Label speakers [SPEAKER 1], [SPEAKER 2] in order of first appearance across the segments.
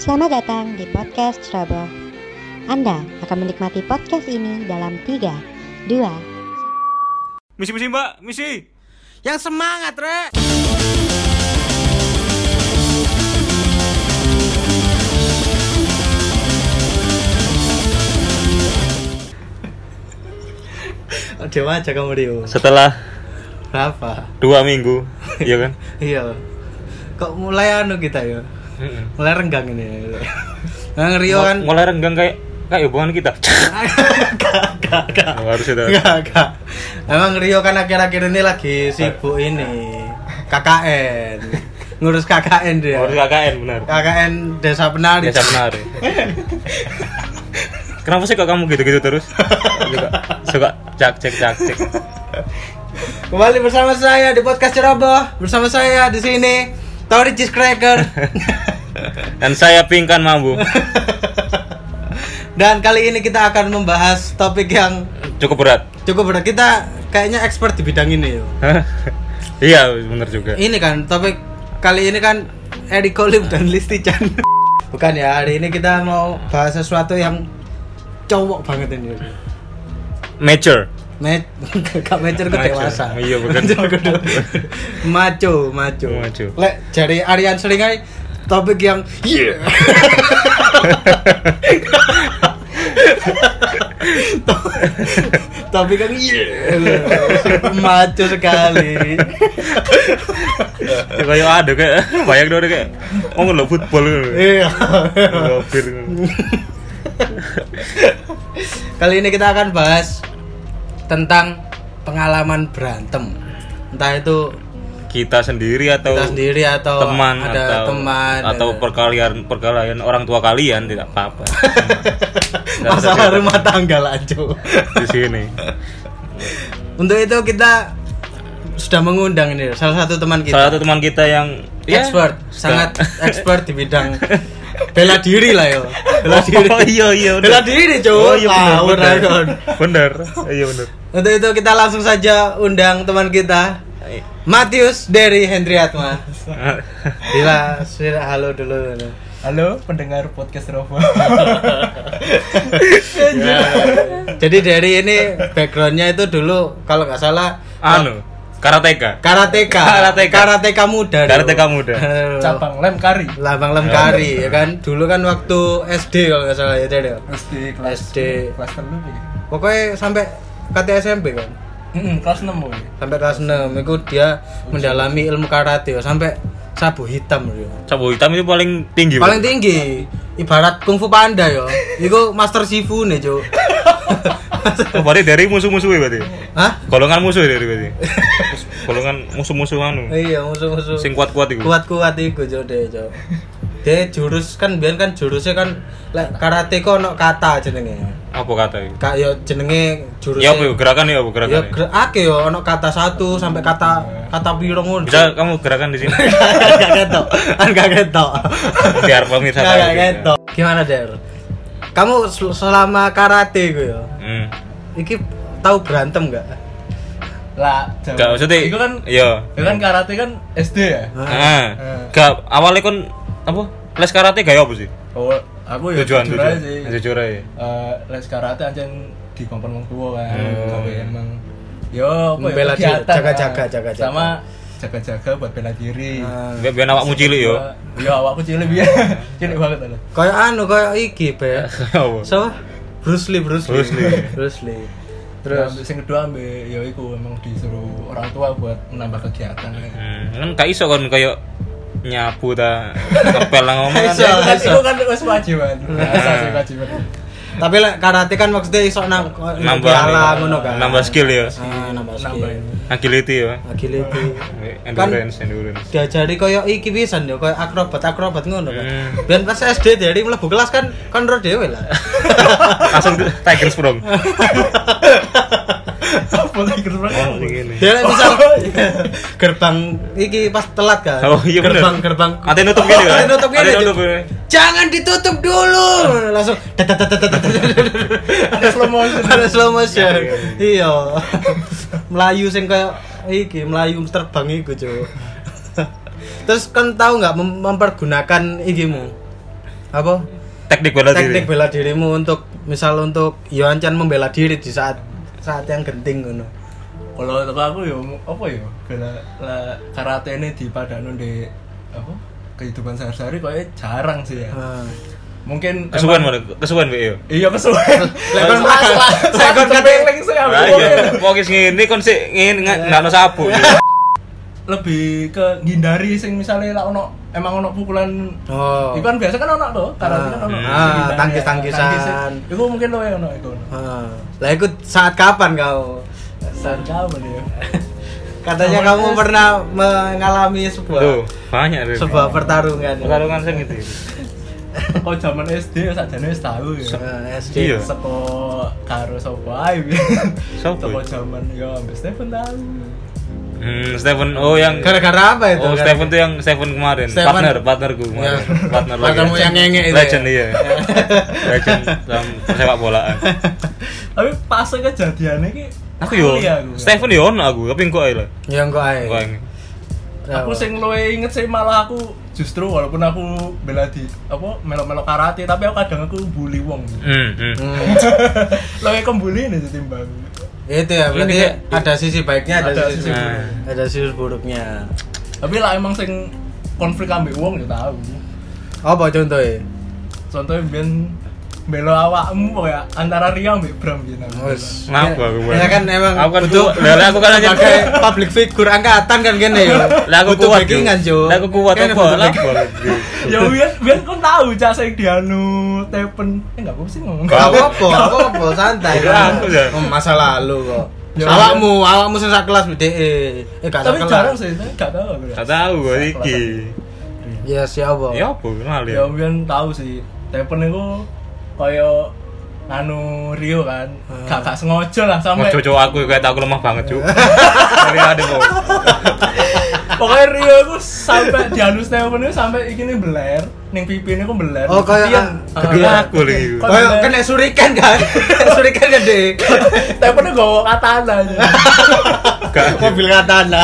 [SPEAKER 1] Selamat datang di podcast Trouble. Anda akan menikmati podcast ini dalam 3, 2,
[SPEAKER 2] Misi misi mbak, misi.
[SPEAKER 3] Yang semangat, Rek. Dewa aja kamu Rio.
[SPEAKER 2] Setelah
[SPEAKER 3] Kenapa?
[SPEAKER 2] dua minggu, iya kan?
[SPEAKER 3] Iya. Kok mulai anu kita ya? Mulai renggang ini. ya. Yang Rio kan
[SPEAKER 2] Mul- Mulai renggang kayak kayak hubungan kita.
[SPEAKER 3] Gak, gak, gak.
[SPEAKER 2] Oh, harus itu.
[SPEAKER 3] Gak, gak. Emang Rio kan akhir-akhir ini lagi sibuk ini KKN ngurus KKN dia
[SPEAKER 2] Harus KKN benar.
[SPEAKER 3] KKN Desa Penari
[SPEAKER 2] Biasa benar. ya. Kenapa sih kok kamu gitu-gitu terus? Suka suka cak cek cak cek.
[SPEAKER 3] Kembali bersama saya di podcast Ceroboh bersama saya di sini Tori Cheese Cracker
[SPEAKER 2] Dan saya pingkan mambu.
[SPEAKER 3] dan kali ini kita akan membahas topik yang
[SPEAKER 2] Cukup berat.
[SPEAKER 3] cukup berat kita kayaknya expert di bidang ini yo.
[SPEAKER 2] iya benar juga.
[SPEAKER 3] Ini kan topik kali ini kan Edi Kolim dan Listi Chan. Bukan ya, hari ini kita mau bahas sesuatu yang cowok banget ini.
[SPEAKER 2] Mature.
[SPEAKER 3] Met, gak mature ke
[SPEAKER 2] Mature.
[SPEAKER 3] dewasa.
[SPEAKER 2] Iya, bukan.
[SPEAKER 3] Mature ke dewa- maco, maco.
[SPEAKER 2] Maco.
[SPEAKER 3] Lek dari Aryan Seringai topik yang yeah. To- topik yang yeah. maco sekali.
[SPEAKER 2] Ya, Kayak ada kayak banyak dong ada kayak. Oh ngelok football.
[SPEAKER 3] Iya.
[SPEAKER 2] Lopir.
[SPEAKER 3] Kali ini kita akan bahas tentang pengalaman berantem. Entah itu
[SPEAKER 2] Kita sendiri atau
[SPEAKER 3] kita sendiri atau
[SPEAKER 2] teman
[SPEAKER 3] ada
[SPEAKER 2] atau
[SPEAKER 3] teman eh,
[SPEAKER 2] atau
[SPEAKER 3] ada-
[SPEAKER 2] perkalian perkalian orang tua kalian tidak apa-apa Nggak usah
[SPEAKER 3] masalah
[SPEAKER 2] cerita.
[SPEAKER 3] rumah tangga lah, Cuk.
[SPEAKER 2] di sini
[SPEAKER 3] Untuk itu kita sudah mengundang ini salah satu teman
[SPEAKER 2] salah
[SPEAKER 3] kita
[SPEAKER 2] satu teman kita yang ya,
[SPEAKER 3] Gitu. expert, sangat expert di bidang bela diri lah yo. Bela
[SPEAKER 2] oh,
[SPEAKER 3] diri.
[SPEAKER 2] iya iya
[SPEAKER 3] Bela diri, Cuk.
[SPEAKER 2] oh iya benar
[SPEAKER 3] Lah,
[SPEAKER 2] benar
[SPEAKER 3] ora, Kon.
[SPEAKER 2] benar iya benar
[SPEAKER 3] Untuk itu kita langsung saja undang teman kita Matius dari Hendriatma. Bila sila halo dulu.
[SPEAKER 4] Halo pendengar podcast Rovo.
[SPEAKER 3] Ya. Jadi dari ini backgroundnya itu dulu kalau nggak salah
[SPEAKER 4] Ah.
[SPEAKER 2] anu karateka
[SPEAKER 3] karateka,
[SPEAKER 2] Karateka.
[SPEAKER 3] karateka muda. dulu.
[SPEAKER 2] Karateka muda.
[SPEAKER 3] Aduh.
[SPEAKER 4] Cabang lem kari.
[SPEAKER 3] Labang Lemkari ya kan. Dulu kan waktu SD kalau nggak salah ya Del.
[SPEAKER 4] SD
[SPEAKER 3] SD.
[SPEAKER 4] kelas telu ya.
[SPEAKER 3] Pokoknya sampai KT SMP kan.
[SPEAKER 4] Mm-mm, kelas 6 boy.
[SPEAKER 3] Sampai kelas 6 itu dia mendalami ilmu karate ya. sampai sabu hitam ya.
[SPEAKER 2] sabu hitam itu paling tinggi
[SPEAKER 3] Paling tinggi ibarat kungfu panda yo. Iku master Shifu nih, Cuk.
[SPEAKER 2] Oh, berarti dari musuh-musuh berarti
[SPEAKER 3] Hah?
[SPEAKER 2] golongan musuh ya, dari berarti golongan musuh-musuh anu
[SPEAKER 3] Iya, musuh-musuh.
[SPEAKER 2] sing kuat-kuat itu
[SPEAKER 3] Kuat-kuat iku, Cuk, deh, Cuk. Dia jurus kan biar kan jurusnya kan lek karate kok ono kata jenenge.
[SPEAKER 2] apa kata itu
[SPEAKER 3] Kak yo jenenge jurusnya.
[SPEAKER 2] ya apa itu? gerakan ya apa gerakan
[SPEAKER 3] Ya
[SPEAKER 2] ya?
[SPEAKER 3] ger- ake yo ono kata satu sampai kata kata piro ngono.
[SPEAKER 2] bisa kamu gerakan di sini
[SPEAKER 3] gak ketok. Kan gak ketok.
[SPEAKER 2] biar pemirsa
[SPEAKER 3] Gak
[SPEAKER 2] tahu
[SPEAKER 3] gak
[SPEAKER 2] gitu.
[SPEAKER 3] ketok. Gimana, Der? Kamu sel- selama karate gue yo.
[SPEAKER 2] Hmm.
[SPEAKER 3] Iki tahu berantem gak?
[SPEAKER 4] Lah, jauh.
[SPEAKER 2] Gak maksudnya
[SPEAKER 4] Iku kan
[SPEAKER 2] Iya
[SPEAKER 4] itu kan karate kan SD ya.
[SPEAKER 2] Heeh.
[SPEAKER 4] Eh.
[SPEAKER 2] Gak awalnya kon Apa? Les karate gaya apa sih?
[SPEAKER 4] Oh, aku ya
[SPEAKER 2] Tujuan
[SPEAKER 4] jujur
[SPEAKER 2] tujuan
[SPEAKER 4] aja sih.
[SPEAKER 2] Jujur aja
[SPEAKER 4] Eh, les karate anjen di kompon wong tua kan.
[SPEAKER 2] Hmm.
[SPEAKER 4] Tapi emang yo apa ya,
[SPEAKER 3] Membela diri,
[SPEAKER 4] kegiatan
[SPEAKER 3] jaga-jaga,
[SPEAKER 4] lah.
[SPEAKER 3] jaga-jaga.
[SPEAKER 4] Sama jaga-jaga buat bela diri.
[SPEAKER 3] Ah.
[SPEAKER 2] Biar, biar awakmu cilik yo
[SPEAKER 4] Yo awakku cilik biar. Cilik banget lah.
[SPEAKER 3] Kayak anu kayak iki be.
[SPEAKER 2] Apa?
[SPEAKER 3] So, Bruce Lee, Bruce Lee.
[SPEAKER 2] Bruce Lee.
[SPEAKER 3] Bruce Lee.
[SPEAKER 4] Terus
[SPEAKER 3] Terus
[SPEAKER 4] sing kedua ambil ya iku emang disuruh orang tua buat menambah kegiatan.
[SPEAKER 2] Hmm, Kan gak iso kon kayak Nyapu ta Ngepel lah ngomong
[SPEAKER 3] Iso.
[SPEAKER 2] kan
[SPEAKER 4] Kan iku kan wis kewajiban. Biasa sih kewajiban.
[SPEAKER 3] Nah. tapi lek karate kan maksudnya iso nang
[SPEAKER 2] Nambah anu,
[SPEAKER 3] piala ngono kan.
[SPEAKER 2] Nambah skill ya
[SPEAKER 3] Ah, nambah
[SPEAKER 4] Nambah.
[SPEAKER 3] skill.
[SPEAKER 2] Agility
[SPEAKER 4] Kan-
[SPEAKER 2] ya
[SPEAKER 3] Agility.
[SPEAKER 2] Endurance Endurance
[SPEAKER 3] diajari koyo iki pisan yo koyo akrobat akrobat ngono kan.
[SPEAKER 2] Hmm.
[SPEAKER 3] Ben pas SD dari mlebu kelas kan kan ro dhewe lah.
[SPEAKER 2] Langsung Tiger Sprung
[SPEAKER 4] Apa sih kerupuk?
[SPEAKER 2] Oh begini
[SPEAKER 3] Dia lek misal gerbang iki pas telat kan.
[SPEAKER 2] iya. Oh iya bener
[SPEAKER 3] gerbang gerbang. Oh,
[SPEAKER 2] Ate nutup gini kan
[SPEAKER 3] Ate nutup gini,
[SPEAKER 2] Ate
[SPEAKER 3] Cuk.
[SPEAKER 2] nutup gini
[SPEAKER 3] Jangan ditutup dulu. Langsung
[SPEAKER 4] Ada slow motion.
[SPEAKER 3] ada slow motion.
[SPEAKER 2] Iya,
[SPEAKER 3] Iya. Melayu sing koyo iki melayu terbang iku, Cuk. Terus kan tahu nggak mem- mempergunakan ikimu apa
[SPEAKER 2] Teknik gitu ya? bela
[SPEAKER 3] teknik
[SPEAKER 2] diri.
[SPEAKER 3] bela dirimu untuk misal untuk Yohancan membela diri di saat saat yang genting ngono.
[SPEAKER 4] Kalau teko aku yo apa yo bela la, karate ini dipadano di apa kehidupan sehari-hari kayaknya jarang sih
[SPEAKER 2] Iya.
[SPEAKER 4] ya.
[SPEAKER 3] Ah.
[SPEAKER 4] Mungkin
[SPEAKER 2] Kesuwen
[SPEAKER 4] emang-
[SPEAKER 2] mana? Kesuwen be yo.
[SPEAKER 4] Iya kesuwen.
[SPEAKER 3] Lah, kan makan.
[SPEAKER 4] Saya kan kepeling sih aku.
[SPEAKER 2] Lah iya, mau kis ngene kon sik ngene nggak nggak ono sabu.
[SPEAKER 3] Iya.
[SPEAKER 4] Lebih ke ngindari sing misalnya lah ono emang ono pukulan
[SPEAKER 3] Oh.
[SPEAKER 4] Iku kan biasa kan ono to, karate kan ono.
[SPEAKER 2] Ah,
[SPEAKER 4] Ngindari, ya.
[SPEAKER 3] tangkis-tangkisan.
[SPEAKER 4] Tangkis. Iku mungkin lo yang ono iku. ono.
[SPEAKER 3] Ah. Lah ikut saat kapan kau?
[SPEAKER 4] Saat kapan ya?
[SPEAKER 3] Katanya
[SPEAKER 4] Kapan
[SPEAKER 3] kamu
[SPEAKER 4] terus?
[SPEAKER 3] pernah mengalami sebuah
[SPEAKER 2] Tuh, banyak Rin.
[SPEAKER 3] sebuah pertarungan.
[SPEAKER 2] pertarungan sing gitu.
[SPEAKER 4] Kok zaman SD sajane wis tahu ya.
[SPEAKER 3] Ah, SD.
[SPEAKER 2] Iya.
[SPEAKER 4] Seko karo sapa ae.
[SPEAKER 2] Sopo?
[SPEAKER 4] Seko zaman ya ambek Stephen tahu.
[SPEAKER 2] Hmm, Stephen oh yang
[SPEAKER 3] Gara-gara apa itu?
[SPEAKER 2] Oh, Stephen tuh yang Stephen kemarin.
[SPEAKER 3] Stephen.
[SPEAKER 2] Partner, partnerku
[SPEAKER 3] Ya.
[SPEAKER 2] kemarin. Partner lagi.
[SPEAKER 3] Partnermu yang ngenge itu
[SPEAKER 2] Legend
[SPEAKER 3] ya?
[SPEAKER 2] iya. Legend dalam sepak bolaan.
[SPEAKER 4] Tapi pas kejadiannya ki
[SPEAKER 2] Aku yo,
[SPEAKER 4] kuliah
[SPEAKER 3] Iya,
[SPEAKER 4] aku. ya.
[SPEAKER 2] Stephen yo ono aku, tapi engko ae lah.
[SPEAKER 3] Ya engko ae. Ya,
[SPEAKER 2] Engko ae.
[SPEAKER 4] aku sing luwe inget sih malah aku justru walaupun aku bela di apa melok-melok karate tapi aku kadang aku bully wong.
[SPEAKER 2] Hmm, hmm.
[SPEAKER 3] Hmm.
[SPEAKER 4] Luwe kembuli nih timbang.
[SPEAKER 3] Itu ya, berarti
[SPEAKER 2] Ini kayak-
[SPEAKER 3] ada sisi baiknya, ada,
[SPEAKER 4] Ada
[SPEAKER 3] sisi,
[SPEAKER 4] sisi
[SPEAKER 3] buruk.
[SPEAKER 2] buruk.
[SPEAKER 3] ada sisi buruknya.
[SPEAKER 4] Tapi lah emang sing konflik ambek wong ya tahu.
[SPEAKER 3] Apa contohnya?
[SPEAKER 4] Contohnya ben belo awakmu kok ya antara Ria ambek Bram gitu.
[SPEAKER 3] Wes.
[SPEAKER 2] Ngapa aku, Bang?
[SPEAKER 3] Ya kan emang
[SPEAKER 2] Aku kan
[SPEAKER 3] butuh
[SPEAKER 2] kuat. Lah, lah, aku kan hanya-
[SPEAKER 3] sebagai public figure angkatan kan gini ya.
[SPEAKER 2] Lah aku
[SPEAKER 3] butuh
[SPEAKER 2] kuat.
[SPEAKER 3] backingan,
[SPEAKER 2] Jo.
[SPEAKER 3] Jo.
[SPEAKER 2] Lah aku kuat
[SPEAKER 3] Kan
[SPEAKER 2] apa?
[SPEAKER 3] butuh
[SPEAKER 2] Lah
[SPEAKER 3] backing.
[SPEAKER 4] ya biar biar kau tahu cah sing dianu tepen. Eh enggak apa sih ngomong.
[SPEAKER 3] Gak apa-apa, gak apa-apa, santai.
[SPEAKER 2] Iya, aku, Jo.
[SPEAKER 3] Oh, masa lalu kok.
[SPEAKER 4] Ya,
[SPEAKER 3] awakmu, awakmu sing sak kelas BDE. Eh gak sak
[SPEAKER 4] Tapi jarang
[SPEAKER 3] kelas.
[SPEAKER 4] sih, tapi enggak tahu aku. ya.
[SPEAKER 2] Gak tahu gua iki.
[SPEAKER 3] Ya siapa?
[SPEAKER 2] Ya apa lali.
[SPEAKER 4] Ya biyen tahu sih. Tepen itu kaya anu Rio kan. Gak gak sengaja lah sampe.
[SPEAKER 2] Mau cocok aku kayak aku lemah banget, Cuk. Dari ada mau.
[SPEAKER 4] Pokoknya Rio itu sampe dianus tepen itu sampe iki nih beler, ning pipine ku beler.
[SPEAKER 3] Oh, kaya-
[SPEAKER 4] Ketian.
[SPEAKER 2] ah, kedua aku lagi.
[SPEAKER 4] Kok
[SPEAKER 3] Kayak
[SPEAKER 4] beler?
[SPEAKER 3] kena surikan kan? surikan kan deh.
[SPEAKER 4] Tepennya gawa katana aja.
[SPEAKER 2] Gak.
[SPEAKER 3] Mobil katana.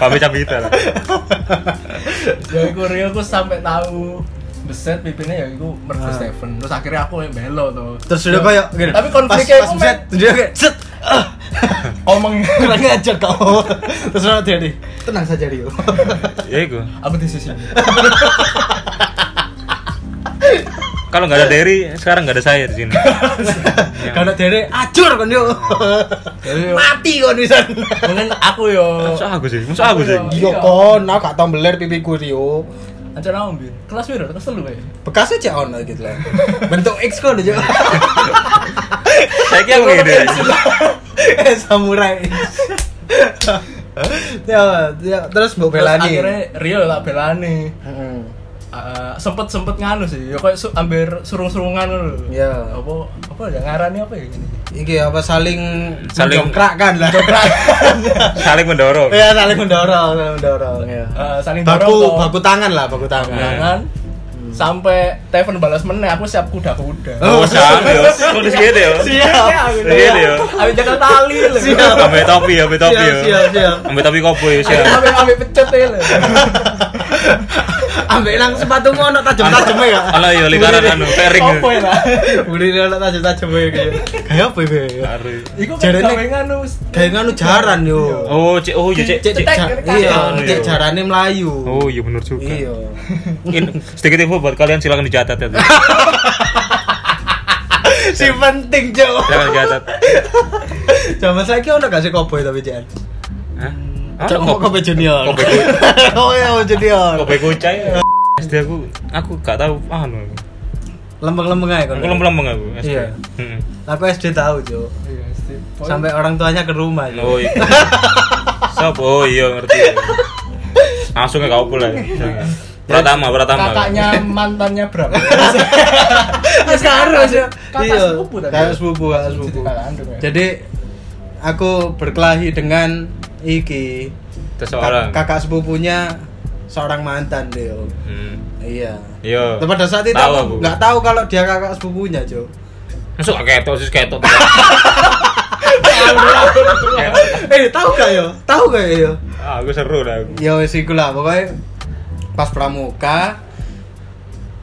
[SPEAKER 2] Pamit cabita lah.
[SPEAKER 4] ya iku Rio aku sampai tahu beset pipinya ya iku merdu
[SPEAKER 3] Ah.
[SPEAKER 4] Stephen. Terus akhirnya aku yang belo tuh.
[SPEAKER 3] Terus udah
[SPEAKER 4] Ya.
[SPEAKER 3] kayak gini.
[SPEAKER 4] Tapi konfliknya
[SPEAKER 3] pas,
[SPEAKER 4] aku
[SPEAKER 3] pas
[SPEAKER 4] met
[SPEAKER 3] set, dia kayak set. ah,
[SPEAKER 4] omong
[SPEAKER 3] Kurang ajar kau. Terus apa dia nih? Tenang saja Rio.
[SPEAKER 2] Ya iku.
[SPEAKER 4] aku di sisi ini.
[SPEAKER 3] Iya.
[SPEAKER 2] Kalau nggak ada Derry, sekarang nggak ada saya di sini. Ya.
[SPEAKER 3] Karena dia nih acur kan yo.
[SPEAKER 4] Jadi
[SPEAKER 3] Mati kan bisa.
[SPEAKER 4] mungkin aku yo
[SPEAKER 2] Masa aku sih, masa aku sih.
[SPEAKER 3] Yo
[SPEAKER 4] Iya.
[SPEAKER 3] kon, aku gak tombeler pipiku Rio.
[SPEAKER 4] Ancen aku mbien. Kelas piro? Kelas 3 ya.
[SPEAKER 3] Bekasnya cek ono gitu lah. Bentuk X kok aja.
[SPEAKER 2] Saya kira aku gini.
[SPEAKER 3] Eh samurai. ya, ya, terus mbok
[SPEAKER 4] Terus
[SPEAKER 3] belani.
[SPEAKER 4] Akhirnya Rio tak belani.
[SPEAKER 3] Heeh.
[SPEAKER 4] Eh, sempet-sempet nganu sih. Ya kayak su- hampir surung-surungan ngono lho.
[SPEAKER 3] Iya.
[SPEAKER 4] Apa apa ya ngarani apa ya gini?
[SPEAKER 3] Iki apa saling
[SPEAKER 2] Saling-
[SPEAKER 3] mendongkrak kan lah.
[SPEAKER 2] Saling mendorong.
[SPEAKER 3] ya saling mendorong, saling mendorong ya.
[SPEAKER 4] Eh, saling
[SPEAKER 3] baku
[SPEAKER 4] dorong, toh.
[SPEAKER 3] baku tangan lah, baku tangan.
[SPEAKER 4] Jangan sampai Teven balas meneh aku siap kuda-kuda.
[SPEAKER 2] Oh, sam, yo. Kok di
[SPEAKER 4] gitu,
[SPEAKER 2] sini yo?
[SPEAKER 3] Siap.
[SPEAKER 2] Iya, iya.
[SPEAKER 4] Ambil jaket tali lho.
[SPEAKER 3] Siap.
[SPEAKER 2] Ambil topi, ambil topi
[SPEAKER 3] Siap,
[SPEAKER 2] yo.
[SPEAKER 3] siap, siap.
[SPEAKER 2] Ambil topi koboi siap.
[SPEAKER 4] Ambil ambil pecet ya lho.
[SPEAKER 3] Ambek nang sepatu ngono tajem-tajeme ya.
[SPEAKER 2] Ala yo lingkaran anu, kering.
[SPEAKER 4] Apa ya lah?
[SPEAKER 3] Budi ono ya? tajem-tajeme iki. Kayak apa iki?
[SPEAKER 2] Aru.
[SPEAKER 4] Iku kan
[SPEAKER 3] Jarene-
[SPEAKER 4] gawe nganu.
[SPEAKER 3] Kayak ngono jaran yo.
[SPEAKER 2] Oh, cek, oh, iya, cek,
[SPEAKER 3] Cek
[SPEAKER 2] cek.
[SPEAKER 4] Cetek,
[SPEAKER 3] jar-
[SPEAKER 4] kan?
[SPEAKER 3] iya,
[SPEAKER 2] Iya.
[SPEAKER 3] cek jarane melayu.
[SPEAKER 2] Oh, iya benar juga.
[SPEAKER 3] Iya.
[SPEAKER 2] In- sedikit info buat kalian silakan dicatat ya.
[SPEAKER 3] Si penting, Jo.
[SPEAKER 2] Silakan dicatat.
[SPEAKER 3] Zaman saiki ono gak sih koboi tapi Jan.
[SPEAKER 2] Hah?
[SPEAKER 3] Cok
[SPEAKER 2] Ah,
[SPEAKER 3] kok
[SPEAKER 2] koboi.
[SPEAKER 3] koboi junior.
[SPEAKER 2] Koboi ku-
[SPEAKER 3] Oh ya junior.
[SPEAKER 2] Koboi kucai. SD aku aku gak tahu anu. aku.
[SPEAKER 3] Lembeng-lembeng ae
[SPEAKER 2] Aku
[SPEAKER 3] kono.
[SPEAKER 2] lempeng-lempeng aku SD. Hmm.
[SPEAKER 3] Iya.
[SPEAKER 2] Heeh.
[SPEAKER 3] Aku SD tahu, Jo.
[SPEAKER 4] Iya, Steve.
[SPEAKER 3] Sampai orang tuanya ke rumah, Jo.
[SPEAKER 2] Oh iya. Sop, oh iya ngerti. Langsung ke kau pula. Pratama, Pratama.
[SPEAKER 4] kakaknya mantannya berapa?
[SPEAKER 3] Mas karo sih.
[SPEAKER 4] Kakak sepupu tadi.
[SPEAKER 3] Kakak Iya. sepupu, kakak sepupu.
[SPEAKER 4] kakak andung ya.
[SPEAKER 3] Jadi aku berkelahi dengan iki
[SPEAKER 2] Terus seorang.
[SPEAKER 3] Kak- kakak sepupunya seorang mantan dia.
[SPEAKER 2] Hmm.
[SPEAKER 3] Iya.
[SPEAKER 2] Iya.
[SPEAKER 3] Tapi pada saat itu
[SPEAKER 2] Tahu aku.
[SPEAKER 3] aku nggak tahu kalau dia kakak sepupunya, Jo.
[SPEAKER 2] Masuk gak ketok sih ketok.
[SPEAKER 3] eh, tahu gak yo? Tahu gak yo?
[SPEAKER 2] Ah, aku seru lah aku.
[SPEAKER 3] Ya wis iku lah pokoknya pas pramuka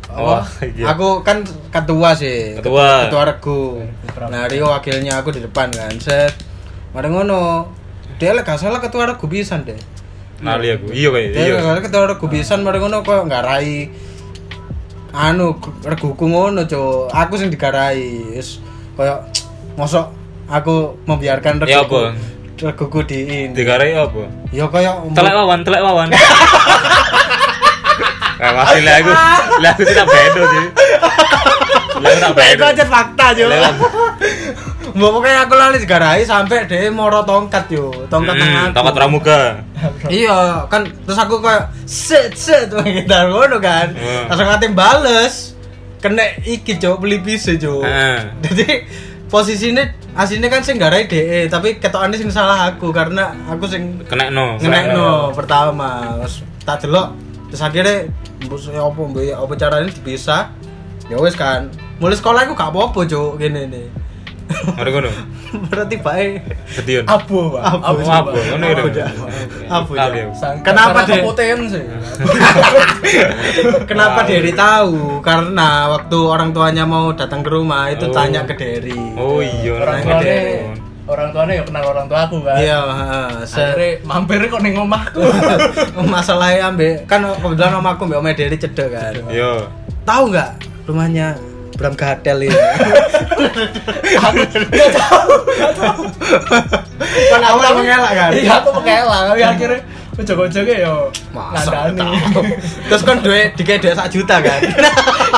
[SPEAKER 3] apa?
[SPEAKER 2] Wah, iya.
[SPEAKER 3] aku kan ketua sih
[SPEAKER 2] Ketua.
[SPEAKER 3] ketua regu nah Rio wakilnya aku di depan kan set mari ngono dia lah gak salah ketua regu pisan deh
[SPEAKER 2] Nali aku. Iya kayak
[SPEAKER 3] dia
[SPEAKER 2] iya.
[SPEAKER 3] gak salah ketua regu pisan mari ngono kok nggak rai anu reguku ngono cok aku sing digarai wis koyo mosok aku membiarkan
[SPEAKER 2] Ya,
[SPEAKER 3] reguku
[SPEAKER 2] apa?
[SPEAKER 3] reguku diin
[SPEAKER 2] Digarai apa?
[SPEAKER 3] ya koyo
[SPEAKER 2] Telek wawan, telek wawan. Nah, masih lah aku, lah aku sih tak bedo sih. Lah aku tak
[SPEAKER 3] Eh, itu
[SPEAKER 2] bedo.
[SPEAKER 3] aja fakta Jo.
[SPEAKER 2] Lewat.
[SPEAKER 3] Mbok pokoknya aku lali digarai sampai dia moro tongkat yo, tongkat
[SPEAKER 2] Hmm,
[SPEAKER 3] tangan.
[SPEAKER 2] Tongkat pramuka.
[SPEAKER 3] Iya, kan terus aku kayak set set kita ngono kan.
[SPEAKER 2] Hmm.
[SPEAKER 3] Langsung ngate bales. Kena iki Cuk, beli pisu Cuk.
[SPEAKER 2] Heeh.
[SPEAKER 3] Jadi posisinya aslinya kan sing garai DE, tapi ketokane sing salah aku karena aku sing
[SPEAKER 2] Kena no.
[SPEAKER 3] ngenekno pertama. Terus tak delok terus akhirnya mbok se- opo mbok ya, opo carane dipisah. Ya wis kan. Mulai sekolah aku gak apa-apa Cuk, ngene nih.
[SPEAKER 2] Mari ngono.
[SPEAKER 3] Berarti bae
[SPEAKER 2] Bediun.
[SPEAKER 4] Abu, Pak.
[SPEAKER 3] Abu,
[SPEAKER 4] Abu,
[SPEAKER 2] Abu,
[SPEAKER 4] Pak.
[SPEAKER 2] ngono
[SPEAKER 4] Abu,
[SPEAKER 2] ya.
[SPEAKER 4] Pak.
[SPEAKER 3] Abu,
[SPEAKER 2] Tahu
[SPEAKER 3] Cuk.
[SPEAKER 2] ya.
[SPEAKER 4] Sang-
[SPEAKER 3] Ah, Kenapa,
[SPEAKER 4] karena
[SPEAKER 3] Dek?
[SPEAKER 4] potensi.
[SPEAKER 3] Kenapa Derry tahu? Karena waktu orang tuanya mau datang ke rumah itu
[SPEAKER 2] Oh.
[SPEAKER 3] tanya ke Derry.
[SPEAKER 2] Oh iya,
[SPEAKER 4] orang
[SPEAKER 2] nang
[SPEAKER 4] tuane
[SPEAKER 2] Bediun.
[SPEAKER 4] orang tuane ya kenal orang tuaku kan
[SPEAKER 3] Iya, heeh. Se-
[SPEAKER 4] akhirnya mampir kok ning omahku
[SPEAKER 3] masalahnya ambek kan kebetulan om aku mbak om Derry cedek kan.
[SPEAKER 2] Yo.
[SPEAKER 3] Tahu nggak rumahnya Bram Gadel ini? Kan aku tak mengelak kan.
[SPEAKER 4] iya aku mengelak tapi akhirnya ujung-ujungnya ya
[SPEAKER 3] Masa
[SPEAKER 4] ngandani.
[SPEAKER 3] tahu. Terus kan duit dikei duit sak juta kan.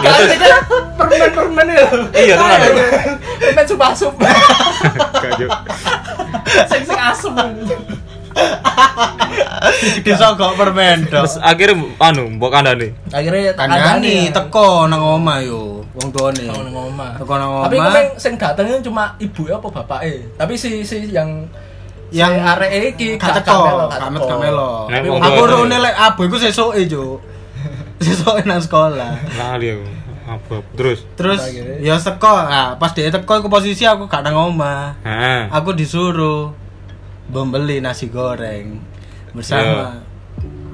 [SPEAKER 4] Kan ini kan permen-permen ya
[SPEAKER 2] Iya, tenan.
[SPEAKER 4] permen sup-sup
[SPEAKER 2] Kajuk.
[SPEAKER 4] sing sing asem
[SPEAKER 3] Disogok permen dok.
[SPEAKER 2] Terus akhirnya anu mbok kandani.
[SPEAKER 4] akhirnya
[SPEAKER 3] Kandani
[SPEAKER 4] ya.
[SPEAKER 3] teko nang omah yo, wong tuane.
[SPEAKER 4] Teko nang omah.
[SPEAKER 3] Teko nang
[SPEAKER 4] tapi
[SPEAKER 3] omah.
[SPEAKER 4] kemarin sing datengnya cuma ibu ya apa bapaknya tapi si si yang
[SPEAKER 3] yang
[SPEAKER 4] si arek iki
[SPEAKER 3] gak
[SPEAKER 4] gak- gak
[SPEAKER 3] teko,
[SPEAKER 4] melo, gak
[SPEAKER 3] kamet
[SPEAKER 4] teko.
[SPEAKER 3] kamelo.
[SPEAKER 2] Nek wong
[SPEAKER 3] Aku
[SPEAKER 2] tuane.
[SPEAKER 3] rone lek abu iku sesoke, Cuk. Sesoke nang sekolah.
[SPEAKER 2] Lali aku. Apa? Terus.
[SPEAKER 3] Terus
[SPEAKER 4] Akhirnya.
[SPEAKER 3] ya teko, nah, pas dia teko iku posisi aku gak nang omah.
[SPEAKER 2] Heeh.
[SPEAKER 3] Aku disuruh membeli nasi goreng bersama
[SPEAKER 2] Iya.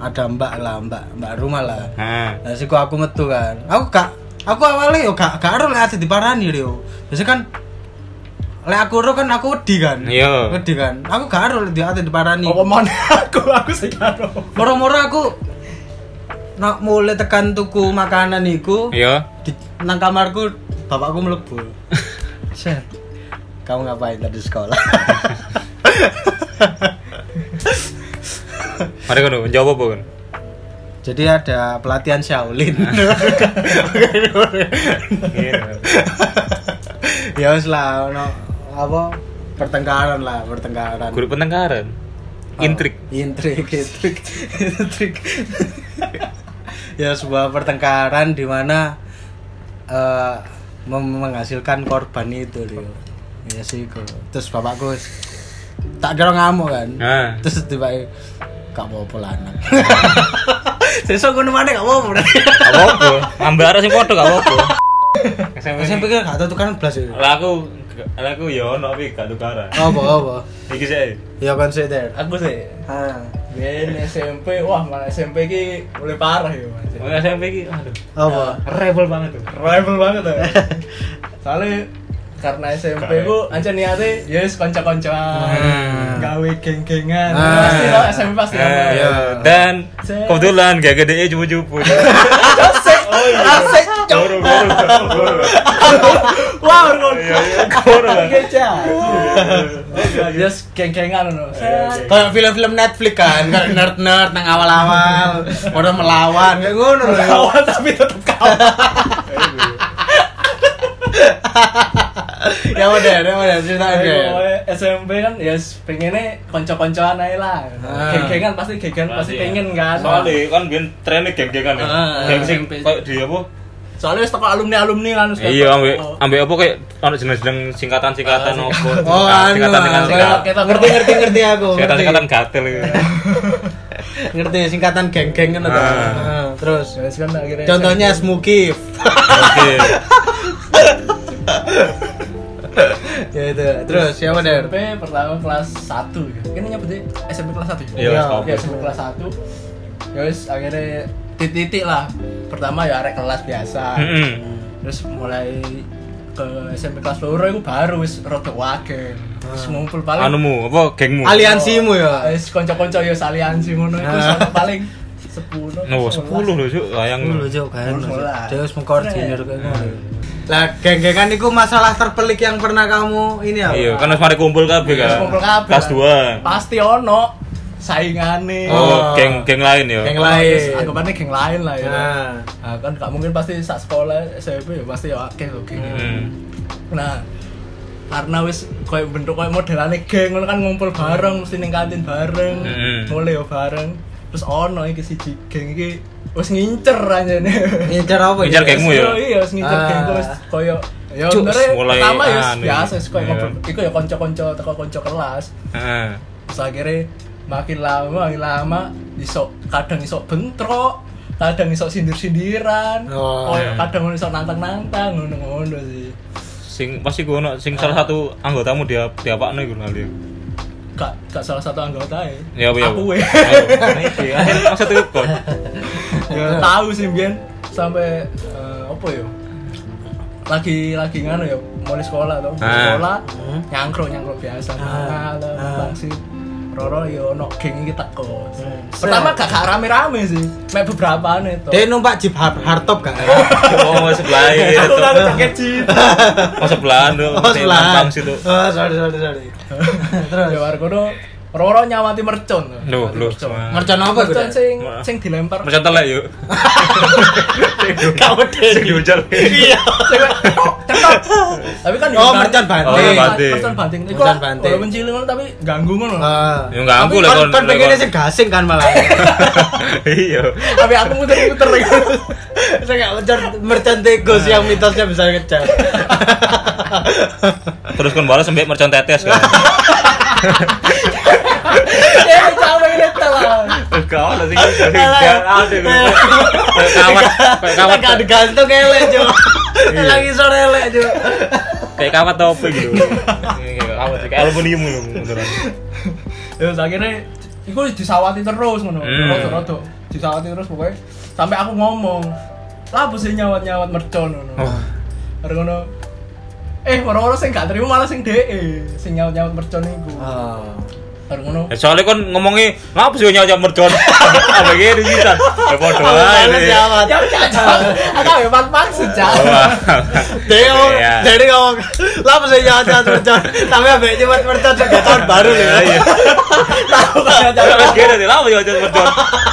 [SPEAKER 3] ada mbak lah, mbak, mbak rumah lah.
[SPEAKER 2] Heeh.
[SPEAKER 3] Nah, siku aku metu kan. Aku gak aku awalnya yo gak gak ero lek ati diparani yo. Biasanya kan lek aku ero kan aku wedi kan.
[SPEAKER 2] Iya.
[SPEAKER 3] Wedi kan. Aku gak ero lek di- ati diparani.
[SPEAKER 4] Oh, mohon aku aku sing karo
[SPEAKER 3] Moro-moro aku nak mulai tekan tuku makanan iku
[SPEAKER 2] Iya.
[SPEAKER 3] di nang kamarku bapakku mlebu. Set. Kamu ngapain tadi sekolah?
[SPEAKER 2] Mari ngono, jawab apa kan?
[SPEAKER 3] Jadi ada pelatihan Shaolin. ya wis lah ono apa pertengkaran lah, pertengkaran.
[SPEAKER 2] Guru pentengkaran.
[SPEAKER 3] Oh,
[SPEAKER 2] Intrik.
[SPEAKER 3] intrik intrik intrik ya sebuah pertengkaran di mana eh, mem- menghasilkan korban itu Rio ya sih kok. terus bapakku s- tak kira ngamuk kan
[SPEAKER 2] Nah.
[SPEAKER 3] terus tiba gak mau pola anak sesuk ngono maneh gak mau berarti
[SPEAKER 2] Apa apa? Ambil arah sing padha gak apa apa.
[SPEAKER 3] saya pikir gak tau tukaran belas itu
[SPEAKER 2] Lah aku lah aku yo ono tapi gak tukaran.
[SPEAKER 3] apa apa
[SPEAKER 2] Iki sih.
[SPEAKER 3] ya consider
[SPEAKER 4] aku sih
[SPEAKER 3] ah
[SPEAKER 4] Ben SMP, wah malah SMP ki mulai parah ya mas.
[SPEAKER 2] Wong SMP iki aduh.
[SPEAKER 3] apa
[SPEAKER 2] Rebel banget tuh.
[SPEAKER 4] Rebel banget ya. Soalnya karena SMP ku anca niatnya ya yes, konco-koncoan, gawe geng-gengan.
[SPEAKER 3] Hmm. Ah.
[SPEAKER 4] Pasti lah SMP pasti.
[SPEAKER 2] Eh,
[SPEAKER 4] ada.
[SPEAKER 3] iya.
[SPEAKER 2] Dan kebetulan gak gede cupu-cupu.
[SPEAKER 3] asik
[SPEAKER 2] Goro goro goro.
[SPEAKER 3] wow
[SPEAKER 2] Iya iya goro.
[SPEAKER 4] Ya, Yes geng-gengan no. Set.
[SPEAKER 3] Kayak film-film Netflix kan, kayak nerd-nerd nang awal-awal, orang melawan kayak Ya, ngono lho.
[SPEAKER 4] Kawan tapi tetap kawan.
[SPEAKER 3] Ya udah, ya udah cerita
[SPEAKER 4] Tapi
[SPEAKER 3] aja.
[SPEAKER 4] pokoknya SMP kan ya yes, pengennya konco-koncoan aja lah.
[SPEAKER 3] Ah.
[SPEAKER 4] Geng-gengan pasti geng pasti pengen kan.
[SPEAKER 2] Soalnya kan biyen trennya geng-gengan ya.
[SPEAKER 3] Heeh.
[SPEAKER 2] Geng sing kayak di apa?
[SPEAKER 4] Soalnya wis teko alumni-alumni kan. wis teko-
[SPEAKER 2] Iya, ambek ambek apa kayak ono jeneng-jeneng singkatan-singkatan apa? Ah,
[SPEAKER 3] Oh, anu.
[SPEAKER 4] Nah,
[SPEAKER 2] Singkatan-singkatan.
[SPEAKER 3] kayak- Ngerti ngerti ngerti aku. ngerti.
[SPEAKER 2] Singkatan-singkatan gatel gitu.
[SPEAKER 3] Ngerti singkatan geng-geng ngono ta.
[SPEAKER 2] Ah.
[SPEAKER 3] Heeh, Terus
[SPEAKER 4] Ya, wis kan akhirnya
[SPEAKER 3] contohnya Smukif.
[SPEAKER 2] Oke.
[SPEAKER 3] ya itu. Terus ya udah.
[SPEAKER 4] SMP pertama kelas Kan 1 ya. Ini nyebutnya SMP kelas 1
[SPEAKER 2] Iya,
[SPEAKER 3] Iya.
[SPEAKER 2] stop.
[SPEAKER 4] SMP kelas 1. Ya wis akhirnya titik-titik lah pertama ya arek kelas biasa
[SPEAKER 2] Mm-mm.
[SPEAKER 4] terus mulai ke SMP kelas loro itu baru wis rada wage terus ngumpul paling
[SPEAKER 2] anumu apa gengmu
[SPEAKER 3] Aliansimu ya.
[SPEAKER 4] wis kanca-kanca ya saliansi ngono iku
[SPEAKER 3] Ah.
[SPEAKER 4] sampe paling 10
[SPEAKER 2] Oh, 10 loh, Cuk. Sayang.
[SPEAKER 3] Lu jauh kan.
[SPEAKER 4] Mulai.
[SPEAKER 3] Dia harus mengkoordinir kayak
[SPEAKER 4] Nah.
[SPEAKER 3] ngono. Lah, geng-gengan itu masalah terpelik yang pernah kamu ini apa?
[SPEAKER 2] Iya, kan harus mari kumpul kabeh
[SPEAKER 4] Terus
[SPEAKER 2] kan.
[SPEAKER 4] kumpul kabeh.
[SPEAKER 2] Kelas 2.
[SPEAKER 4] pasti ono saingane
[SPEAKER 2] Oh, geng geng lain ya.
[SPEAKER 3] Geng
[SPEAKER 4] Terus
[SPEAKER 3] lain.
[SPEAKER 4] anggapannya geng lain lah ya
[SPEAKER 3] Nah.
[SPEAKER 4] Nah, Ah, kan gak mungkin pasti saat sekolah SMP ya pasti ya akeh loh geng
[SPEAKER 2] Hmm.
[SPEAKER 4] nah karena wis koyo bentuk koyo modelane geng ngono kan ngumpul bareng mesti ning kantin bareng
[SPEAKER 2] Hmm.
[SPEAKER 4] mulai yo bareng terus ono iki siji geng iki wis ngincer anjene
[SPEAKER 3] Ngincer apa?
[SPEAKER 2] Ngincer
[SPEAKER 3] gitu?
[SPEAKER 2] geng. Gengmu ya?
[SPEAKER 4] iya wis ngincer
[SPEAKER 3] Ah.
[SPEAKER 4] geng wis koyo ya
[SPEAKER 2] Cuk,
[SPEAKER 4] sebenarnya
[SPEAKER 2] mulai
[SPEAKER 4] pertama ya wis
[SPEAKER 2] anu.
[SPEAKER 4] biasa wis koyo
[SPEAKER 2] Iya.
[SPEAKER 4] ngobrol iku ya kanca-kanca teko kanca kelas
[SPEAKER 2] Heeh.
[SPEAKER 4] terus akhirnya makin lama makin lama iso kadang iso bentrok kadang iso sindir-sindiran
[SPEAKER 3] Oh,
[SPEAKER 4] koyo
[SPEAKER 2] iya.
[SPEAKER 4] kadang iso nantang-nantang ngono-ngono sih
[SPEAKER 2] Sing pasti gua ono sing salah satu anggotamu dia diapakno iku lali.
[SPEAKER 4] gak, gak salah satu anggota
[SPEAKER 2] Ya
[SPEAKER 4] ya
[SPEAKER 2] apa ya?
[SPEAKER 4] aku ya
[SPEAKER 2] Ya, maksud itu kok.
[SPEAKER 3] Iya.
[SPEAKER 4] Ya, tahu sih Bian sampai eh, apa ya lagi lagi nganu ya mulai sekolah tuh
[SPEAKER 2] Ah.
[SPEAKER 4] sekolah
[SPEAKER 3] Hmm.
[SPEAKER 4] nyangkruk nyangkruk biasa
[SPEAKER 3] Ah.
[SPEAKER 4] malam
[SPEAKER 3] Ah.
[SPEAKER 4] bang sih Roro yo no geng kita kok
[SPEAKER 3] Hmm.
[SPEAKER 4] pertama gak gak rame-rame sih mek beberapa nih tuh
[SPEAKER 3] Dia numpak jeep hard- hardtop kan?
[SPEAKER 2] Oh, sebelah ya.
[SPEAKER 4] aku kan kaget sih
[SPEAKER 2] Oh, sebelah tuh.
[SPEAKER 3] Oh, sebelah.
[SPEAKER 2] Bang situ. Oh.
[SPEAKER 3] Oh, sorry, sorry, sorry. Terus.
[SPEAKER 4] ya wargono Roro nyawati mercon tuh.
[SPEAKER 2] Loh,
[SPEAKER 4] Nyawati
[SPEAKER 2] loh,
[SPEAKER 4] mercon.
[SPEAKER 2] sama.
[SPEAKER 3] Mercon apa itu?
[SPEAKER 4] mercon sing
[SPEAKER 2] Wah.
[SPEAKER 4] sing dilempar
[SPEAKER 2] Macam telek yuk.
[SPEAKER 3] Kamu deh.
[SPEAKER 2] Sing diujar. Iya.
[SPEAKER 4] Cewek, tok, cetok. tapi kan
[SPEAKER 3] Oh,
[SPEAKER 4] diundang.
[SPEAKER 3] mercon banting.
[SPEAKER 4] Oh, mercon
[SPEAKER 2] Banting.
[SPEAKER 4] mercon banting itu
[SPEAKER 3] Mercon
[SPEAKER 4] lah
[SPEAKER 3] banting.
[SPEAKER 4] walaupun cilik ngono tapi ganggu ngono
[SPEAKER 3] Ah.
[SPEAKER 2] Ya enggak aku
[SPEAKER 3] Tapi
[SPEAKER 2] lah
[SPEAKER 3] kon
[SPEAKER 2] kon.
[SPEAKER 3] kon
[SPEAKER 2] lah,
[SPEAKER 3] pengennya
[SPEAKER 2] kon.
[SPEAKER 3] sing gasing kan malah.
[SPEAKER 2] Iya.
[SPEAKER 4] tapi aku muter-muter
[SPEAKER 3] Saya enggak mencar mercon tikus yang mitosnya bisa ngejar.
[SPEAKER 2] Terus kon balas sampai mercon tetes kan.
[SPEAKER 4] ya capek neta lah
[SPEAKER 2] Kau lah sing sing-
[SPEAKER 3] Alah.
[SPEAKER 2] sing- aduh. Kayak kawat, kayak kawat, Iya.
[SPEAKER 3] Enggak digantung elek, Cuk. Lagi ya, sore elek, Cuk.
[SPEAKER 2] kayak kawat topi gitu. Kayak kawat, kayak aluminium loh beneran.
[SPEAKER 4] ya terus akhirnya itu disawati terus ngono
[SPEAKER 2] Hmm.
[SPEAKER 4] rodo-rodo disawati terus pokoknya sampai aku ngomong lah apa sih nyawat-nyawat mercon ngono
[SPEAKER 2] Oh.
[SPEAKER 4] Baru ngono eh orang-orang sing gak terima malah sing DE sing nyawat-nyawat mercon iku
[SPEAKER 3] Ah.
[SPEAKER 4] Baru ngono
[SPEAKER 2] Eh, soalnya kon ngomongnya ngapa sih nyawa mercon? Apa gitu sih kan? Ya bodoh
[SPEAKER 3] Males ya,
[SPEAKER 2] aja.
[SPEAKER 3] Mat.
[SPEAKER 4] ya udah aku memang maksud Cak.
[SPEAKER 2] Wah.
[SPEAKER 3] Dia ngomong,
[SPEAKER 2] Iya.
[SPEAKER 3] jadi ngomong, lah iya, mesti jangan jangan mercon, tapi abe cuma mercon juga tahun baru nih.
[SPEAKER 2] Iya, iya.
[SPEAKER 4] tahu kan Cak.
[SPEAKER 2] Terus gini nih, lama nyawa mercon.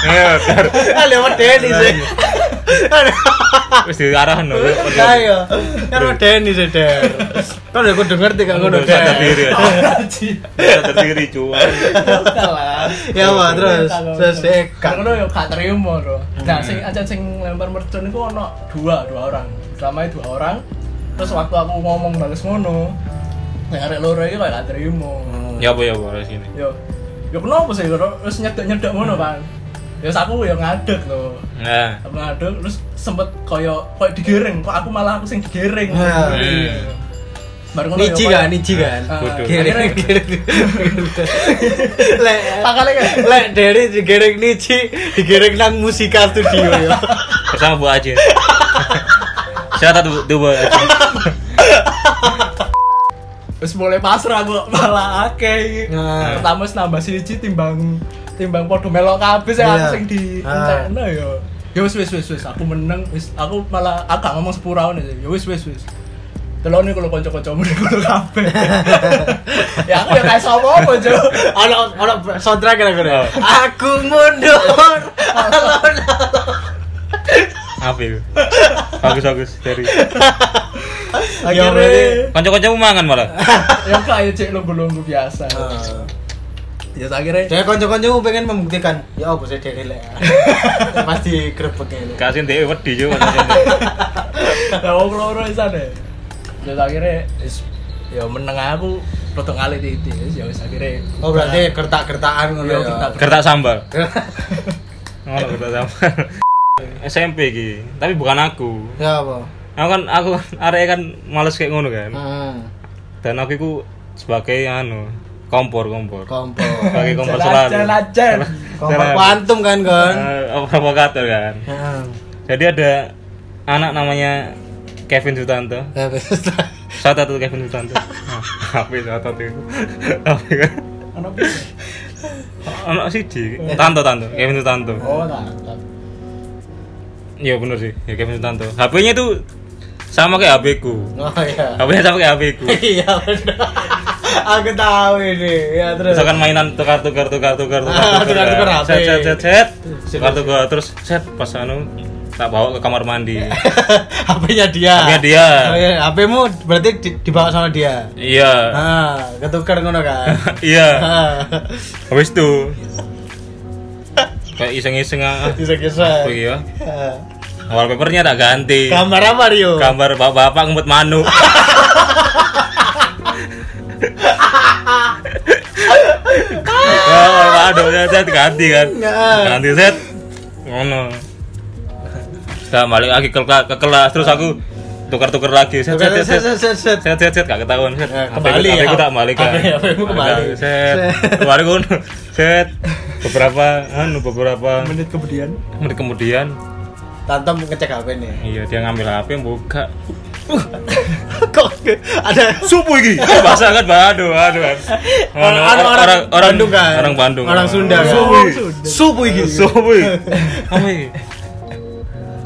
[SPEAKER 2] Iya, bener.
[SPEAKER 3] Kan lewat Denny sih.
[SPEAKER 2] Wis diarahin loh.
[SPEAKER 3] iya. Ayo, kan lewat Denny sih Der. Kan aku denger tiga ngono
[SPEAKER 2] Dosa
[SPEAKER 3] Der.
[SPEAKER 2] terdiri. ya. Dosa terdiri cuma.
[SPEAKER 3] Ya Pak, terus terus dia
[SPEAKER 4] kan
[SPEAKER 3] kan.
[SPEAKER 4] ngono yo gak terima lho. Nah, sing aja sing lempar mercon iku ono dua, dua orang. Pertama dua orang. Terus waktu aku ngomong balas ngono, nek arek loro iki kok gak terima.
[SPEAKER 2] Ya apa ya apa sini.
[SPEAKER 4] Yo. Yo kenapa sih loro terus nyedek-nyedek ngono kan. Ya aku yo ngadeg lho.
[SPEAKER 2] Nah,
[SPEAKER 4] Aku ngadeg terus sempet koyo koyo digiring, kok aku malah aku sing digiring.
[SPEAKER 3] Nah.
[SPEAKER 4] Iya. Bar ngono yo
[SPEAKER 3] Niji
[SPEAKER 4] koyo-
[SPEAKER 3] kan, niji kan.
[SPEAKER 4] Ah,
[SPEAKER 2] Bodoh.
[SPEAKER 3] Gerek
[SPEAKER 4] akhirnya-
[SPEAKER 3] gerek. Lek
[SPEAKER 4] Pangkalnya kan?
[SPEAKER 3] lek Denny digerek niji, digerek nang musika studio ya.
[SPEAKER 2] bersama Bu Aji. Shout out Bu- Bu Aji.
[SPEAKER 4] Terus mulai pasrah kok malah akeh.
[SPEAKER 3] Nah.
[SPEAKER 4] Pertama wis nambah siji timbang timbang podo melok kabeh sing aku
[SPEAKER 3] Iya.
[SPEAKER 4] sing di encekno ya. Ya wis wis wis wis aku meneng wis aku malah aku gak ngomong sepuraune sih. Ya wis wis wis. Telone kalau kanca-kancamu ning kono kabeh. ya aku ya kayak sapa apa, Jo.
[SPEAKER 3] ono ono soundtrack kira
[SPEAKER 2] Oh,
[SPEAKER 3] kira aku mundur alon
[SPEAKER 2] Apa itu? Bagus bagus dari.
[SPEAKER 3] Ya,
[SPEAKER 4] Akhirnya
[SPEAKER 2] Kanca-kancamu mangan malah.
[SPEAKER 4] ya kayak cek lunggu-lunggu biasa.
[SPEAKER 3] Ah.
[SPEAKER 4] Ya akhirnya
[SPEAKER 3] dia konco konco pengen membuktikan ya apa sih dia lek pasti grebek
[SPEAKER 2] Kasih dhewe wedi yo.
[SPEAKER 4] ya wong loro isan deh. Ya akhirnya wis ya meneng aku rada ngalih titik wis ya wis akhirnya
[SPEAKER 3] oh berarti kertak kertaan ngono
[SPEAKER 4] Iya,
[SPEAKER 3] ya
[SPEAKER 4] kertak-
[SPEAKER 2] Gertak sambal. Ngono gertak sambal. SMP iki, tapi bukan aku.
[SPEAKER 3] ya apa
[SPEAKER 2] Aku kan aku arek kan males kayak ngono kan.
[SPEAKER 3] hmm,
[SPEAKER 2] Dan aku iku sebagai anu, kompor kompor.
[SPEAKER 3] kompor
[SPEAKER 2] Sebagai kompor
[SPEAKER 4] Jalan,
[SPEAKER 2] selalu.
[SPEAKER 4] jalan, jalan.
[SPEAKER 3] kompak kuantum kan kon
[SPEAKER 2] Eh, provokator kan
[SPEAKER 3] Heeh.
[SPEAKER 2] jadi ada anak namanya Kevin Sutanto
[SPEAKER 3] Ya,
[SPEAKER 2] shout out to Kevin Sutanto apa shout out itu Apa ya?
[SPEAKER 4] Anak bisa.
[SPEAKER 2] anak siji Tanto Tanto Kevin Sutanto
[SPEAKER 4] Oh, tak. tak.
[SPEAKER 2] iya bener sih ya Kevin Sutanto HP-nya tuh sama kayak HP ku
[SPEAKER 3] oh iya
[SPEAKER 2] HP-nya sama kayak HP ku
[SPEAKER 3] iya bener. aku tahu ini ya terus
[SPEAKER 2] misalkan mainan tukar tukar tukar tukar tukar
[SPEAKER 3] Ah, tukar-tukar
[SPEAKER 2] kan.
[SPEAKER 3] HP.
[SPEAKER 2] set set set set tukar tukar terus set pas anu tak bawa ke kamar mandi
[SPEAKER 3] HP-nya dia
[SPEAKER 2] Tapi kan dia
[SPEAKER 3] Oh, Ah. iya. HP-mu berarti di- dibawa sama dia
[SPEAKER 2] iya
[SPEAKER 3] ah ketukar ngono kan
[SPEAKER 2] iya
[SPEAKER 3] Ah,
[SPEAKER 2] habis itu kayak iseng iseng ah
[SPEAKER 3] bisa-bisa
[SPEAKER 2] iya
[SPEAKER 3] Ah.
[SPEAKER 2] wallpapernya tak ganti
[SPEAKER 3] gambar apa Rio
[SPEAKER 2] gambar bapak bapak ngumpet manu
[SPEAKER 3] Ah.
[SPEAKER 2] ya aduh set, set ganti kan ganti set ngono kita balik lagi ke, ke kelas terus aku tukar-tukar lagi set set set set
[SPEAKER 3] set set
[SPEAKER 2] set set set gak ketahuan set
[SPEAKER 3] Eh,
[SPEAKER 2] HP
[SPEAKER 3] kembali
[SPEAKER 2] ku-
[SPEAKER 3] ya.
[SPEAKER 2] HP ku tak balik kan
[SPEAKER 3] HP mu kembali.
[SPEAKER 2] set
[SPEAKER 3] Set.
[SPEAKER 2] kembali ku set beberapa anu beberapa
[SPEAKER 4] Menit kemudian.
[SPEAKER 2] menit kemudian
[SPEAKER 3] Tantam ngecek HP nih
[SPEAKER 2] iya dia ngambil HP buka
[SPEAKER 3] kok ada
[SPEAKER 2] subuh iki bahasa kan aduh aduh
[SPEAKER 3] Orang- Anu, orang-
[SPEAKER 2] orang orang
[SPEAKER 3] Bandung kan?
[SPEAKER 2] orang Bandung Iya,
[SPEAKER 3] Orang Sunda kan?
[SPEAKER 2] subuh iki.
[SPEAKER 3] supu iki
[SPEAKER 2] subuh iki. apa iki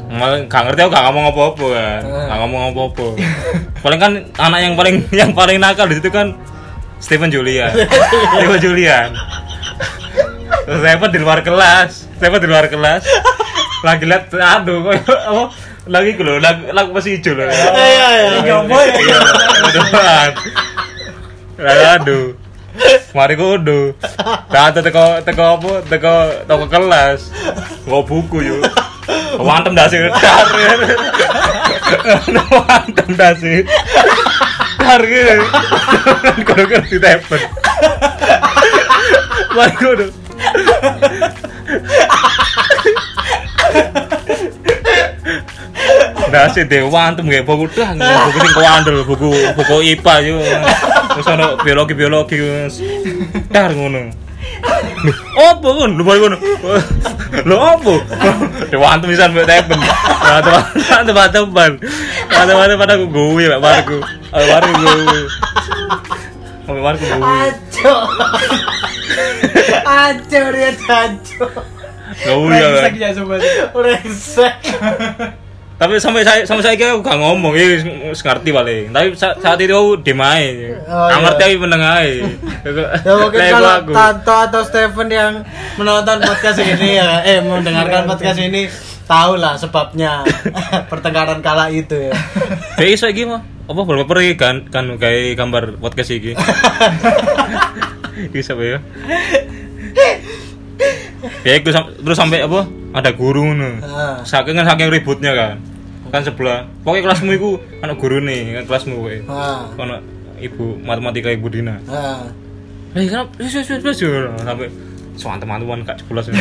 [SPEAKER 2] Mal- gak ngerti aku gak ngomong apa-apa
[SPEAKER 3] Ah.
[SPEAKER 2] kan gak ngomong apa-apa paling kan anak yang paling yang paling nakal di situ kan Stephen Julian Stephen Julian terus Stephen di luar kelas Stephen di luar kelas lagi lihat aduh kok apa lagi ku lho lagu lagu masih hijau lho
[SPEAKER 3] iya iya
[SPEAKER 2] Iya, iya, aduh, Bang. Lah, aduh. Mari kudu. Tante teko teko apa? Teko toko kelas. Gua buku yuk. Wantem dah sih. Wantem dah sih. Harga. Kudu ngerti tepen. Mari kudu. Dasi dewa antum gak buku dah, buku ini kau andel, buku buku IPA yo. Terus ono biologi biologi mas. Dar ngono. Loh, Apa kan? Lu balik ngono. Lu apa? Dewa antum bisa mbak tepen. Nah, teman teman teman teman teman teman aku gue mbak Marku. Mbak Marku gue. Mbak Marku gue.
[SPEAKER 3] Aco. Aco dia aco.
[SPEAKER 2] Gue ya.
[SPEAKER 4] Brengsek
[SPEAKER 2] kan.
[SPEAKER 4] ya sobat.
[SPEAKER 3] Brengsek.
[SPEAKER 2] Tapi sampai saya sampai saya kira aku gak ngomong, ya wis- wis ngerti paling. Tapi sa- saat itu aku diem ae.
[SPEAKER 3] Oh,
[SPEAKER 2] Gak
[SPEAKER 3] iya.
[SPEAKER 2] ngerti aku meneng ae.
[SPEAKER 3] Ya mungkin
[SPEAKER 2] Lego
[SPEAKER 3] kalau
[SPEAKER 2] aku.
[SPEAKER 3] Tanto atau Steven yang menonton podcast ini ya, eh mendengarkan podcast ini tahu lah sebabnya pertengkaran kala itu ya.
[SPEAKER 2] Kayak iso iki mah. Apa wallpaper iki kan kan kayak gambar podcast iki. Iki siapa ya? Ya iku sam- terus sampai apa? Ada guru ngono.
[SPEAKER 3] Ah.
[SPEAKER 2] Saking saking ributnya kan. Kan sebelah. Pokoknya kelasmu iku anak guru nih, kan kelasmu kowe.
[SPEAKER 3] Ah.
[SPEAKER 2] Ono ibu matematika ibu Dina.
[SPEAKER 3] Ah.
[SPEAKER 2] Eh kenapa? Wis wis wis wis sampai soan teman-teman gak jeblos.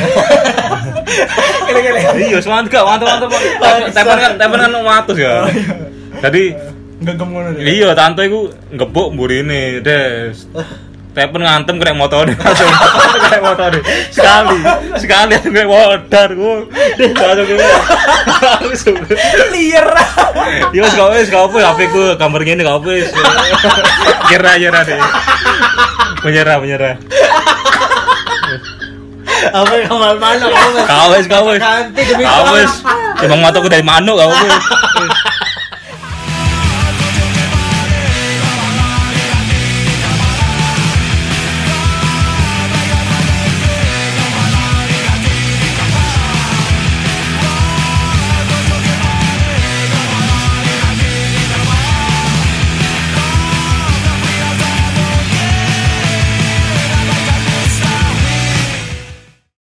[SPEAKER 2] Iya, soan gak teman-teman. Tepan kan tepan kan watus ya. Jadi
[SPEAKER 4] Genggam ngono deh.
[SPEAKER 2] iya tante iku ngebuk mburine, Des. Tepen ngantem kena motone langsung kena motone. Sekali, sekali aku kena modar ku. Des langsung kena. Aku sumpah.
[SPEAKER 4] Liar.
[SPEAKER 2] Yo wis gak wis gak apa HP ku gambar ngene gak apa wis. Nyerah nyerah deh. Menyerah menyerah.
[SPEAKER 3] Apa yang kamal mana kamu?
[SPEAKER 2] Gak wis gak wis.
[SPEAKER 3] Ganti demi
[SPEAKER 2] Gak
[SPEAKER 3] kamu.
[SPEAKER 2] wis. Emang mataku dari manuk gak wis.